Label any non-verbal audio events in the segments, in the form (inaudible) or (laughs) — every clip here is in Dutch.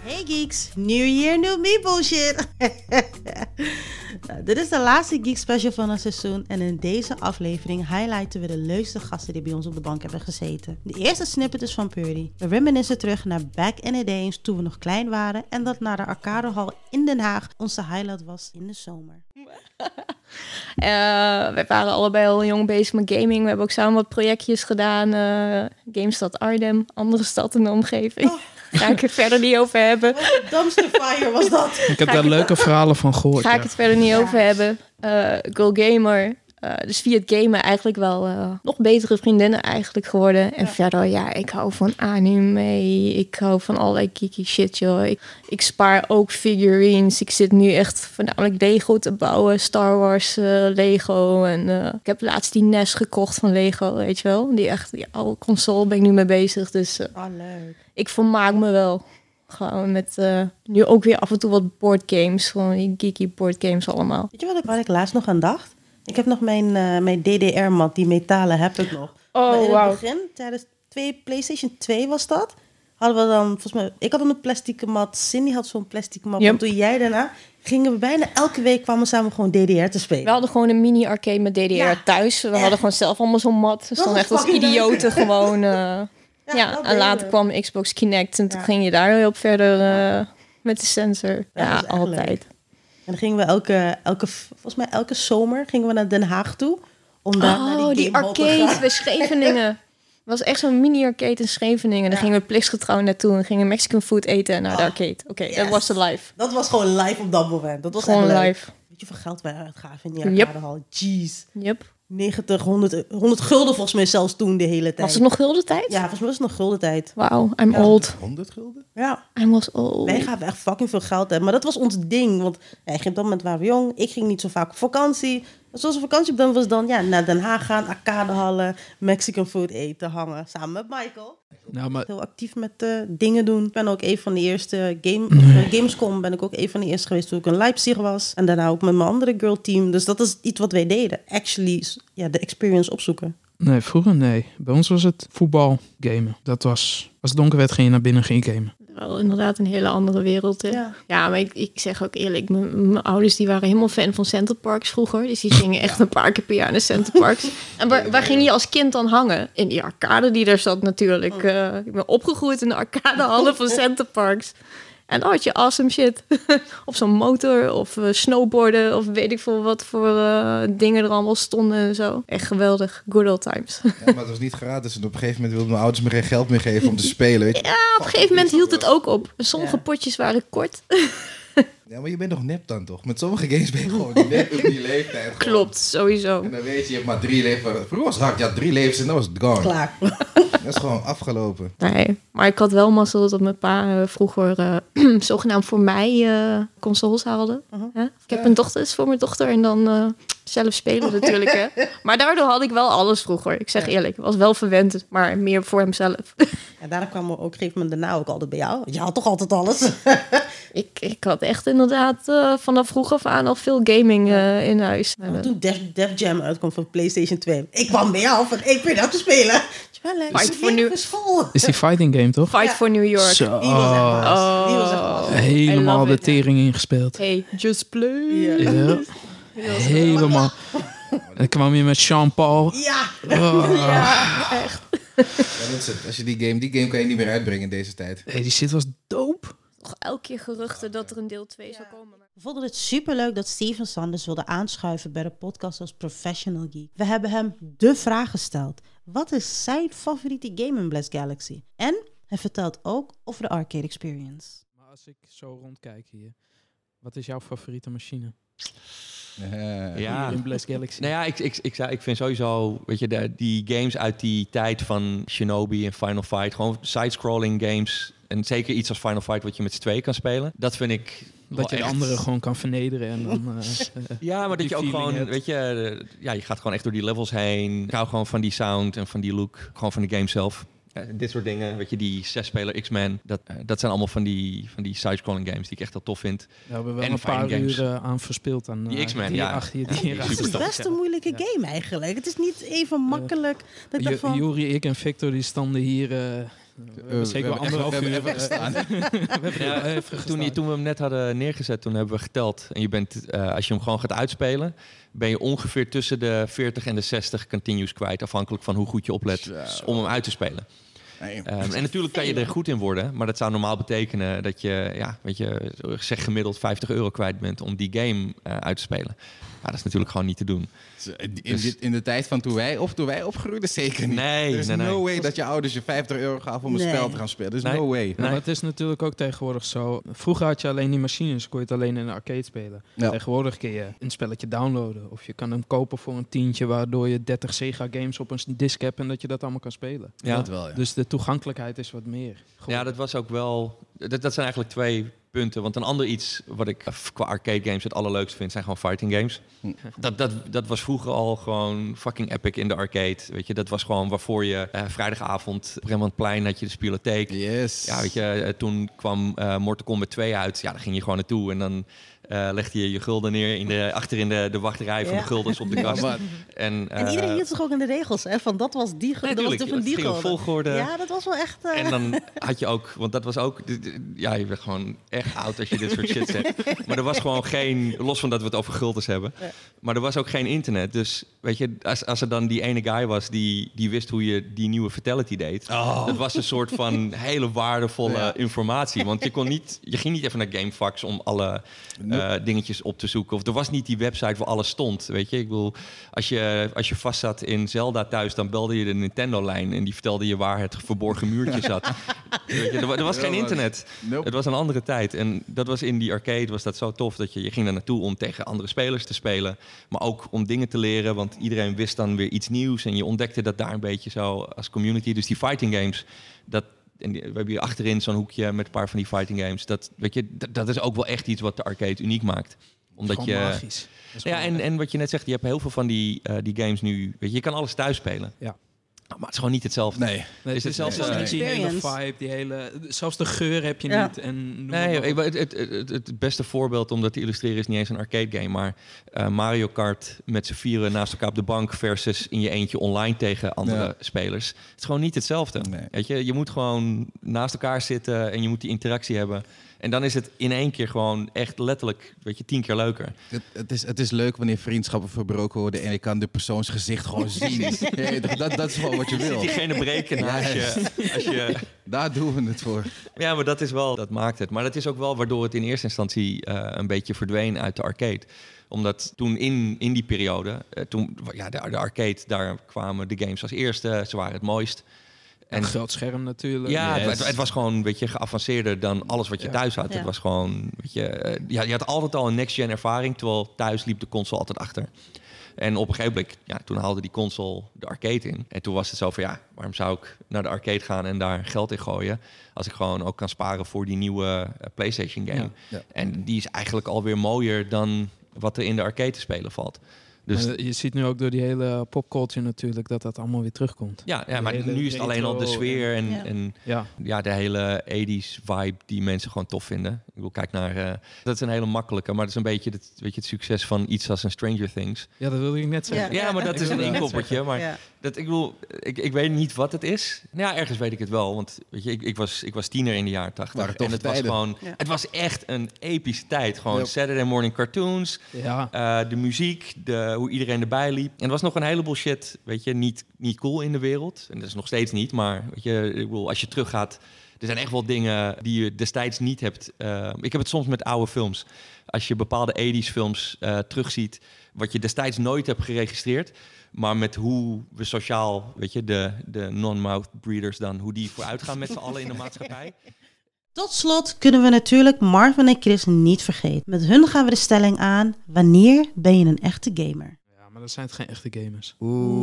Hey geeks, new year, new me bullshit. (laughs) nou, dit is de laatste Geek Special van het seizoen en in deze aflevering highlighten we de leukste gasten die bij ons op de bank hebben gezeten. De eerste snippet is van Purdy. We reminiscen terug naar back in the days toen we nog klein waren en dat naar de Arcadehal in Den Haag onze highlight was in de zomer. Eh, wij waren allebei al jong bezig met gaming. We hebben ook samen wat projectjes gedaan. eh GameStad Arnhem, andere stad in de omgeving. Oh. Ga ik het verder niet over hebben. Wat een dumpster fire was dat. Ik heb daar leuke verhalen van gehoord. Ga ik ja. het verder niet Ja. over hebben. Eh Go Gamer. eh, dus via het gamen eigenlijk wel eh, nog betere vriendinnen eigenlijk geworden. En Ja. verder, ja, ik hou van anime. Ik hou van allerlei geeky shit, joh. Ik, ik spaar ook figurines. Ik zit nu echt voornamelijk Lego te bouwen. Star Wars eh, Lego. En eh, ik heb laatst die NES gekocht van Lego, weet je wel. Die echt, die oude console ben ik nu mee bezig. Dus eh, (laughs) Oh, leuk. ik vermaak me wel. Gewoon met eh, nu ook weer af en toe wat boardgames. Gewoon die geeky boardgames allemaal. Weet je wat ik, waar ik laatst nog aan dacht? Ik heb nog mijn, eh, mijn DDR-mat, die metalen heb ik nog. Oh, Maar in het begin, tijdens twee, PlayStation 2 was dat, hadden we dan, volgens mij, ik had dan een plastic mat, Cindy had zo'n plastic mat. Yep. En toen jij daarna, gingen we bijna elke week kwamen we samen gewoon DDR te spelen. We hadden gewoon een mini-arcade met DDR Ja. thuis. We hadden gewoon zelf allemaal zo'n mat. We stonden was echt als fucking leuk. idioten (laughs) gewoon. eh, ja, dat en deden later we. kwam Xbox Kinect. En toen Ja. ging je daar heel op verder eh, met de sensor. ja, was echt altijd. En dan gingen we elke, elke, volgens mij elke zomer gingen we naar Den Haag toe. Om daar naar die, Oh, die Gamehall te arcade gaan. bij (laughs) Scheveningen. Het was echt zo'n mini-arcade in Scheveningen. Daar Ja. gingen we plichtsgetrouw naartoe en gingen Mexican food eten en naar de Ah, arcade. Oké, dat yes. was de life. Dat was gewoon live op dat moment. Dat was Gewoon echt leuk. live. Weet je hoeveel geld wij uitgaven in die Yep. arcadehal? Jeez. Yep. 90, 100, 100 gulden volgens mij zelfs toen de hele tijd. Was het nog gulden tijd? Ja, volgens mij was het nog gulden tijd. Wauw, I'm Ja. old. 100 gulden? Ja. I was old. Wij gaven echt fucking veel geld uit. Maar dat was ons ding. Want ja, ik ging op dat moment waren we jong. Ik ging niet zo vaak op vakantie. Dus als we vakantie op dan was dan ja, naar Den Haag gaan, arcadehallen, Mexican food eten, hangen. Samen met Michael. Nou, maar Heel actief met eh, dingen doen. Ik ben ook een van de eerste game, of, eh, Gamescom ben ik ook een van de eerste geweest toen ik in Leipzig was. En daarna ook met mijn andere girl team. Dus dat is iets wat wij deden. Actually, s- ja, de experience opzoeken. nee, vroeger nee. Bij ons was het voetbal, gamen. Dat was, als het donker werd ging je naar binnen, ging je gamen. Wel inderdaad een hele andere wereld. Hè? Ja. Ja. maar ik, ik zeg ook eerlijk, mijn mijn ouders die waren helemaal fan van Center Parks vroeger. Dus die gingen echt een paar keer per jaar naar Center (laughs) Parks. en waar, waar ging je als kind dan hangen? In die arcade die daar zat natuurlijk. Oh. Eh, ik ben opgegroeid in de arcadehallen van Center Parks. En dan had je awesome shit. (laughs) op zo'n motor of eh, snowboarden of weet ik veel wat voor eh, dingen er allemaal stonden en zo. Echt geweldig. Good old times. Ja, maar het was niet gratis. En op een gegeven moment wilden mijn ouders me geen geld meer geven om te spelen. (laughs) Weet je? ja, op een gegeven moment hield het ook op. Sommige Ja. potjes waren kort. Ja, maar je bent nog nep dan toch? Met sommige games ben je gewoon (laughs) net op die leeftijd. gewoon. Klopt, sowieso. En dan weet je, je hebt maar drie levens. Vroeger was het hard. Je had drie levens en dan was het gone. Klaar. (laughs) Dat is gewoon afgelopen. Nee, maar ik had wel mazzel dat mijn pa eh, vroeger eh, (clears throat) zogenaamd voor mij eh, consoles haalde. Hè? Ik heb een dochter, is voor mijn dochter en dan eh, zelf spelen natuurlijk. Hè? Maar daardoor had ik wel alles vroeger. Ik zeg eerlijk, was wel verwend, maar meer voor hemzelf. (laughs) En daarna kwam er ook op een gegeven moment daarna ook altijd bij jou. Je had toch altijd alles? ik, ik had echt inderdaad eh, vanaf vroeg af aan al veel gaming eh, in huis. Want toen Def, Def Jam uitkwam van PlayStation 2. Ik kwam bij jou van, ik vind dat te spelen. Jelle, Maar ik voor leer nu- voor school. Is die fighting game toch? Fight for New York. Zo. Die was echt baas. Die was echt baas. I Helemaal love de it. tering ingespeeld. Hey, just play. Ja. (laughs) Ja. Helemaal. En dan kwam je met Sean Paul. Ja, Oh. Ja, dat is het. Als je die game, die game kan je niet meer uitbrengen in deze tijd. Hey, die shit was dope. Nog elke keer geruchten dat er een deel 2 zou komen. We vonden het superleuk dat Steven Sanders wilde aanschuiven bij de podcast als Professional Geek. We hebben hem de vraag gesteld. Wat is zijn favoriete game in Blast Galaxy? En hij vertelt ook over de arcade experience. Maar als ik zo rondkijk hier, wat is jouw favoriete machine? Eh, Ja. Hier in Blast Galaxy. Nou ja, ik, ik, ik, zei, ik vind sowieso, weet je, de, die games uit die tijd van Shinobi en Final Fight, gewoon side-scrolling games. En zeker iets als Final Fight wat je met z'n tweeën kan spelen. Dat vind ik. wel Dat je de echt- anderen gewoon kan vernederen en dan... eh, (laughs) Ja, maar dat die je ook feeling gewoon, hebt. weet je, eh, ja, je gaat gewoon echt door die levels heen. Ik hou gewoon van die sound en van die look, gewoon van de game zelf. Ja, dit soort dingen, weet je, die zes-speler X-Men, dat, eh, dat zijn allemaal van die, van die side-scrolling games die ik echt heel tof vind. Daar hebben we wel En een paar fighting games. uren aan verspeeld. Aan, Die eh, X-Men, die ja. erachter- Ja, die die erachter- Het is Superstap, best een moeilijke ja. game eigenlijk. Het is niet even makkelijk. dat ik dacht Ju- van, Juri, ik en Victor die standen hier eh, We Eh, hebben zeker wel echt- anderhalf we uur hebben echt gestaan. Ja, eh, toen, die- toen we hem net hadden neergezet, toen hebben we geteld. En je bent, eh, als je hem gewoon gaat uitspelen, ben je ongeveer tussen de 40 en de 60 continues kwijt. Afhankelijk van hoe goed je oplet Zo. om hem uit te spelen. Nee. Ehm, en natuurlijk kan je er goed in worden, maar dat zou normaal betekenen dat je, ja, weet je, zeg gemiddeld 50 euro kwijt bent om die game eh, uit te spelen. Ja, dat is natuurlijk gewoon niet te doen. eh, In, Dus- dit- in de tijd van toen wij, of toen wij opgroeiden, zeker niet. Nee, er is nee, nee. no way dat je ouders je 50 euro gaven om een Nee. spel te gaan spelen. Er is Nee. no way. Ja, Nee. maar het is natuurlijk ook tegenwoordig zo. Vroeger had je alleen die machines, kon je het alleen in de arcade spelen. Ja. Tegenwoordig kun je een spelletje downloaden. Of je kan hem kopen voor een tientje, waardoor je 30 Sega games op een disc hebt en dat je dat allemaal kan spelen. Ja. Dat wel, ja. Dus de toegankelijkheid is wat meer. Gewoon- Ja, dat was ook wel. Dat, dat zijn eigenlijk twee punten. Want een ander iets wat ik eh, qua arcade games het allerleukst vind, zijn gewoon fighting games. Hm. Dat, dat, dat was vroeger al gewoon fucking epic in de arcade. Weet je, dat was gewoon waarvoor je eh, vrijdagavond op Rembrandtplein had je de spielotheek. Yes. Ja, weet je, eh, toen kwam eh Mortal Kombat 2 uit. Ja, daar ging je gewoon naartoe. En dan eh, legde je je gulden neer in de, achter in de, de wachtrij van Ja. de guldens op de Ja, kast. maar- En en, eh, iedereen hield zich ook in de regels, hè? Van dat was die, nee, dat was tuurlijk, de van het die ging om gulden. volgorde. Ja, dat was wel echt... eh, En dan had je ook, want dat was ook, d- d- ja, je bent gewoon echt oud als je dit soort shit (laughs) zegt. Maar er was gewoon geen, los van dat we het over guldens hebben, Ja. maar er was ook geen internet. Dus weet je, als, als er dan die ene guy was die, die wist hoe je die nieuwe fatality deed, dat was een soort van hele waardevolle Ja. informatie. Want je kon niet, je ging niet even naar Gamefax om alle eh, dingetjes op te zoeken. Of er was niet die website waar alles stond, weet je. Ik bedoel, als je, als je vast zat in Zelda thuis, dan belde je de Nintendo-lijn en die vertelde je waar het verborgen muurtje zat. Weet je, er, wa- er was Ja, geen maar- internet. Nope. Het was een andere tijd. En dat was in die arcade was dat zo tof. Dat je, je ging daar naartoe om tegen andere spelers te spelen. Maar ook om dingen te leren. Want iedereen wist dan weer iets nieuws. En je ontdekte dat daar een beetje zo als community. Dus die fighting games. Dat, en die- we hebben hier achterin zo'n hoekje met een paar van die fighting games. Dat, weet je, dat, dat is ook wel echt iets wat de arcade uniek maakt. Omdat gewoon je. magisch. Ja, en, en wat je net zegt, je hebt heel veel van die, eh, die games nu. Weet je, je kan alles thuis spelen. Ja. Maar het is gewoon niet hetzelfde. Nee. Nee, Is het het is zelfs zelfs een die hele experience? vibe, die hele, zelfs de geur heb je Ja. niet. En noem maar Nee, op. ik- het, het, het, het beste voorbeeld om dat te illustreren is niet eens een arcade game, maar eh, Mario Kart met z'n vieren naast elkaar op de bank versus in je eentje online tegen andere Ja. spelers. Het is gewoon niet hetzelfde. Nee. Weet je, je moet gewoon naast elkaar zitten en je moet die interactie hebben. En dan is het in één keer gewoon echt letterlijk, weet je, tien keer leuker. Het, het, is, het is leuk wanneer vriendschappen verbroken worden en je kan de persoons gezicht gewoon zien. Ja, dat, dat, dat is gewoon wat je Zit wil. diegene breken naast je, als je Daar doen we het voor. Ja, maar dat is wel, dat maakt het. Maar dat is ook wel waardoor het in eerste instantie eh, een beetje verdween uit de arcade. Omdat toen in, in die periode, eh, toen, ja, de, de arcade, daar kwamen de games als eerste. Ze waren het mooist. Een groot scherm natuurlijk. Ja, Yes. het, het- het was gewoon weet je, geavanceerder dan alles wat je Ja. thuis had. Ja. Het was gewoon, weet je, eh, ja, je had altijd al een next-gen ervaring, terwijl thuis liep de console altijd achter. En op een gegeven moment, ja, toen haalde die console de arcade in. En toen was het zo van, ja, waarom zou ik naar de arcade gaan en daar geld in gooien? Als ik gewoon ook kan sparen voor die nieuwe eh, PlayStation game. Ja. Ja. En die is eigenlijk alweer mooier dan wat er in de arcade te spelen valt. Dus Dus je ziet nu ook door die hele popculture natuurlijk dat dat allemaal weer terugkomt. ja, ja, maar de hele nu is het alleen al de retro sfeer en... Ja. en Ja, ja, de hele 80s vibe die mensen gewoon tof vinden. Ik bedoel, kijk naar... eh, dat is een hele makkelijke, maar dat is een beetje het, weet je, het succes van iets als een Stranger Things. ja dat wilde ik net Ja. zeggen. Ja, maar (laughs) dat is een inkoppertje. Maar ja. dat, ik bedoel, ik, ik weet niet wat het is. Nou ja, ergens weet ik het wel, want weet je, ik, ik, was, ik was tiener in de jaren Waren 80. En toffe het was tijden. gewoon... Ja. Het was echt een epische tijd. Gewoon Yep. Saturday morning cartoons, Ja. eh, de muziek, de, hoe iedereen erbij liep. En er was nog een heleboel shit, weet je, niet, niet cool in de wereld. En dat is nog steeds niet, maar weet je, ik bedoel, als je teruggaat... Er zijn echt wel dingen die je destijds niet hebt. Eh, ik heb het soms met oude films. Als je bepaalde 80s films eh, terugziet, wat je destijds nooit hebt geregistreerd. Maar met hoe we sociaal, weet je, de, de non-mouth breeders dan, hoe die vooruit gaan met z'n allen in de maatschappij. Tot slot kunnen we natuurlijk Marvin en Chris niet vergeten. Met hun gaan we de stelling aan, wanneer ben je een echte gamer? Ja, maar dat zijn het geen echte gamers.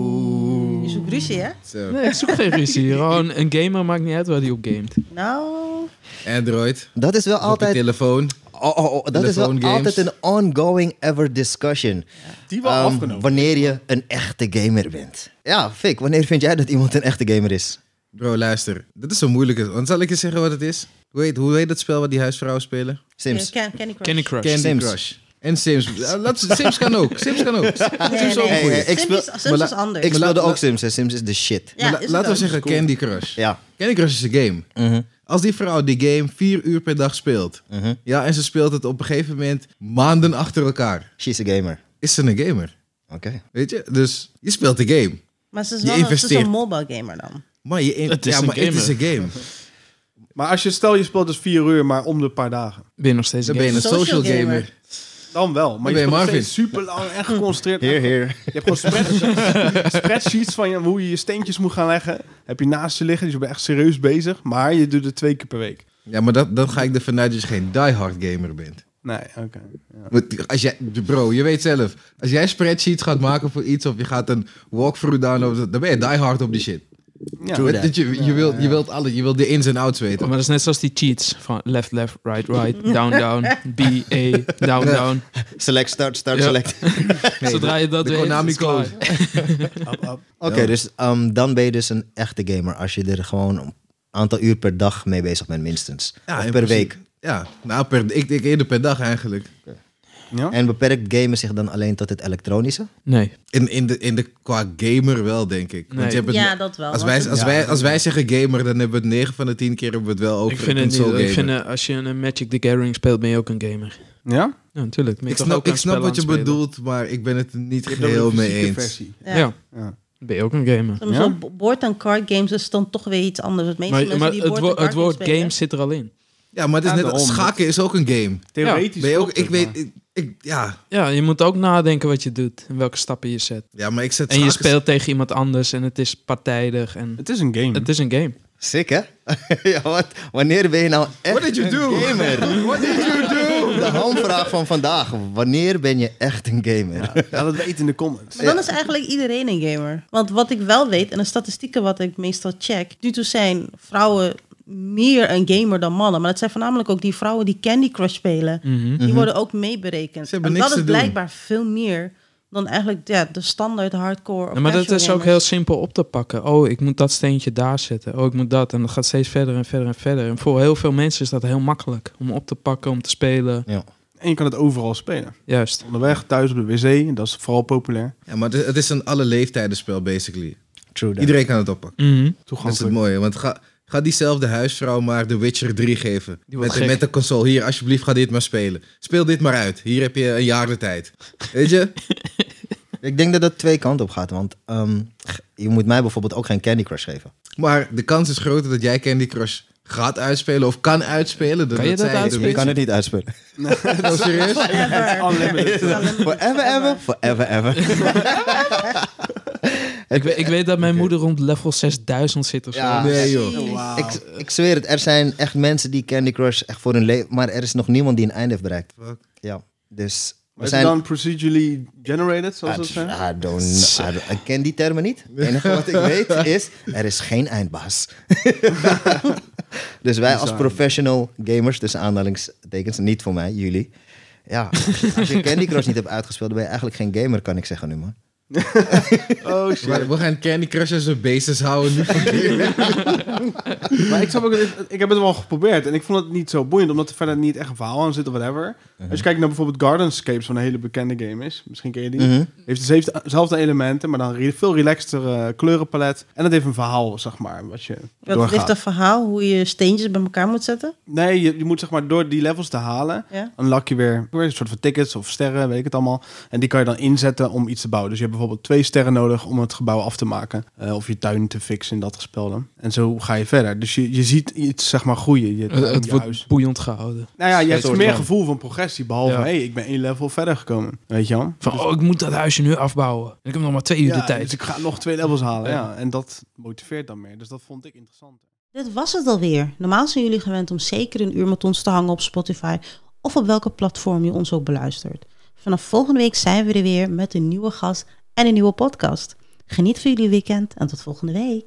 Oeh. Je zoekt ruzie, hè? Zo. Nee, ik zoek (laughs) geen ruzie. Gewoon een gamer maakt niet uit waar hij op gamet. Nou, Android, Dat is wel op je altijd, telefoon. oh, oh, oh, dat is wel telefoongames. altijd een ongoing ever discussion. Die wel Ehm, afgenomen. wanneer je een echte gamer bent. Ja, Fik, wanneer vind jij dat iemand een echte gamer is? Bro, luister. Dit is zo moeilijk. Want zal ik je zeggen wat het is? Hoe heet, hoe heet dat spel wat die huisvrouwen spelen? Sims. Ken- Candy Crush. Candy Crush. Candy Sims. Crush. En (laughs) Sims. Ja, laat- Sims kan ook. Sims kan ook. Sims is ook nee. goed. Hey, hey, ik Sims speel- is- Sims maar is la- anders. Ik speelde laat- ook Sims en Sims is de shit. Ja, La- is het laten we ook. zeggen Candy Crush. Ja. Candy Crush is een game. Mhm. Als die vrouw die game vier uur per dag speelt. Mhm. Ja, en ze speelt het op een gegeven moment maanden achter elkaar. She's a gamer. Is ze een gamer? Oké. Weet je? Dus je speelt de game. Maar ze is Je wel een- ze is investeert. een mobile gamer dan. Maar, je in- Het is ja, een maar het is gamer. een game. (laughs) Maar als je stel je speelt dus vier uur, maar om de paar dagen. (laughs) Ben je nog steeds Dan ben je een gamer? Social social, gamer. gamer. Dan wel. Maar Dan ben je je Marvin. super lang en geconcentreerd. Hier, hier. Je hebt gewoon spreadsheets, spreadsheets van je, hoe je je steentjes moet gaan leggen. Heb je naast je liggen, dus je bent echt serieus bezig. Maar je doet het twee keer per week. Ja, maar dat, dan ga ik ervan uit dat je geen diehard gamer bent. Nee, oké. Ja. Want Als jij, bro, je weet zelf. Als jij spreadsheets gaat maken voor iets of je gaat een walkthrough downloaden, dan ben je diehard op die shit. Ja. True Want dat je, je, wilt, je wilt alle, je wilt de ins en outs weten. Oh, Maar dat is net zoals die cheats van left, left, right, (laughs) right, down, down, B, A, down, down. Select, start, start, Ja. select. Zodra je dat de weet, Konami is het klaar. code. Up, up. Oké, Ja. dus ehm, dan ben je dus een echte gamer als je er gewoon een aantal uur per dag mee bezig bent, minstens. Ja, Of in per principe. week. Ja, nou, per, ik denk eerder per dag eigenlijk. Ja? En beperkt gamen zich dan alleen tot het elektronische? Nee. In, in, de, in de, qua gamer wel, denk ik. Want Nee. je hebt het- Ja, dat wel. als, want wij, als, het- wij, als wij zeggen gamer, dan hebben we het 9 van de 10 keer hebben we het wel over Ik vind een het niet. console Ik gamer. vind, eh, als je een Magic the Gathering speelt, ben je ook een gamer. ja? Ja, natuurlijk. Ben je ik toch ook snap, ik een snap spel wat aan het je spelen? bedoelt, maar ik ben het er niet Je hebt geheel ook een mee fysieke eens. versie. Ja. Ja. Ja. ben je ook een gamer. Soms Ja? wel bo- board- en card games is dan toch weer iets anders. Want meeste Maar, mensen maar die het, board- wo- en het card woord spelen- game zit er al in. Ja, maar het is Ja, net daarom. schaken is ook een game. Theoretisch Ben je ook, klopt ik het, maar- weet, ik, ik- ja. Ja, je moet ook nadenken wat je doet en welke stappen je zet. ja, maar ik zet en je schaken- speelt tegen iemand anders en het is partijdig en Het is een game. het is een game. Sick, hè? (laughs) ja, wat? Wanneer ben je nou echt What did you een do? gamer? (laughs) What did you do? De hamvraag van vandaag. Wanneer ben je echt een gamer? Ja, dat weet in de comments. Maar dan is eigenlijk iedereen een gamer. Want wat ik wel weet, en de statistieken wat ik meestal check, nu toe zijn vrouwen meer een gamer dan mannen. Maar dat zijn voornamelijk ook die vrouwen die Candy Crush spelen. Die worden ook meeberekend. Ze hebben en niks dat is te doen. blijkbaar veel meer dan eigenlijk ja, de standaard hardcore. of Ja, maar dat casual is ook heel gamers. simpel op te pakken. Oh, ik moet dat steentje daar zetten. Oh, ik moet dat. En dat gaat steeds verder en verder en verder. En voor heel veel mensen is dat heel makkelijk om op te pakken, om te spelen. Ja. En je kan het overal spelen. Juist. Onderweg, thuis, op de wc. Dat is vooral populair. Ja, maar het is- het is een alle leeftijden spel, basically. True that. Iedereen kan het oppakken. Mhm. Dat is het Toegankelijk. mooie, want ga, ga diezelfde huisvrouw maar The Witcher 3 geven. Die wordt Met, gek. met de console. Hier, alsjeblieft, ga dit maar spelen. Speel dit maar uit. Hier heb je een jaar de tijd. Weet je? Ik denk dat dat twee kanten op gaat. Want ehm, je moet mij bijvoorbeeld ook geen Candy Crush geven. Maar de kans is groter dat jij Candy Crush gaat uitspelen of kan uitspelen. Dan Kan je dat zij de uitspelen? Witcher- Ik kan het niet Oh, uitspelen. serieus? Ever. Unlimited. (laughs) Forever, ever. Forever, (laughs) ever. Ik, weet, ik weet dat mijn moeder rond level 6000 zit of zo. Ja. Nee, joh. Ik, ik zweer het, er zijn echt mensen die Candy Crush echt voor hun leven... Maar er is nog niemand die een einde heeft bereikt. Fuck. Ja, dus... Maar We is het zijn... dan procedurally generated, zoals dat I, zeggen? I don't, I don't- ik ken die termen niet. Het enige wat ik weet (laughs) is, er is geen eindbaas. (laughs) dus wij als professional gamers, tussen aanhalingstekens, niet voor mij, jullie. Ja, als je Candy Crush niet hebt uitgespeeld, dan ben je eigenlijk geen gamer, kan ik zeggen nu, man. Oh shit. Maar We gaan Candy Crush als een basis houden. nu van Maar ik, snap ook, dat- ik heb het wel geprobeerd en ik vond het niet zo boeiend, omdat er verder niet echt een verhaal aan zit of whatever. Als je kijkt naar bijvoorbeeld Gardenscapes, wat een hele bekende game is, misschien ken je die, Mhm. heeft dezelfde- dezelfde elementen, maar dan re- veel relaxter eh, kleurenpalet. En dat heeft een verhaal, zeg maar, wat je Wat ligt doorgaat. een verhaal hoe je steentjes bij elkaar moet zetten? Nee, je, je moet zeg maar door die levels te halen, Ja. unlock je weer, weer een soort van tickets of sterren, weet ik het allemaal. En die kan je dan inzetten om iets te bouwen. Dus je hebt bijvoorbeeld twee sterren nodig om het gebouw af te maken. eh, of je tuin te fixen in dat spel dan. En zo ga je verder. Dus je, je ziet iets zeg maar groeien. Je, Het, het je Eh, huis. wordt boeiend gehouden. Nou ja, je hebt soort meer van- gevoel van progressie. Behalve, Ja. hé, hey, ik ben één level verder gekomen. Weet je wel? Van, oh, ik moet dat huisje nu afbouwen. En ik heb nog maar twee uur Ja, de tijd. Dus ik ga nog twee levels halen. Ja. En dat motiveert dan meer. Dus dat vond ik interessant. Dit was het alweer. Normaal zijn jullie gewend om zeker een uur met ons te hangen op Spotify of op welke platform je ons ook beluistert. Vanaf volgende week zijn we er weer met een nieuwe gast en een nieuwe podcast. Geniet van jullie weekend en tot volgende week.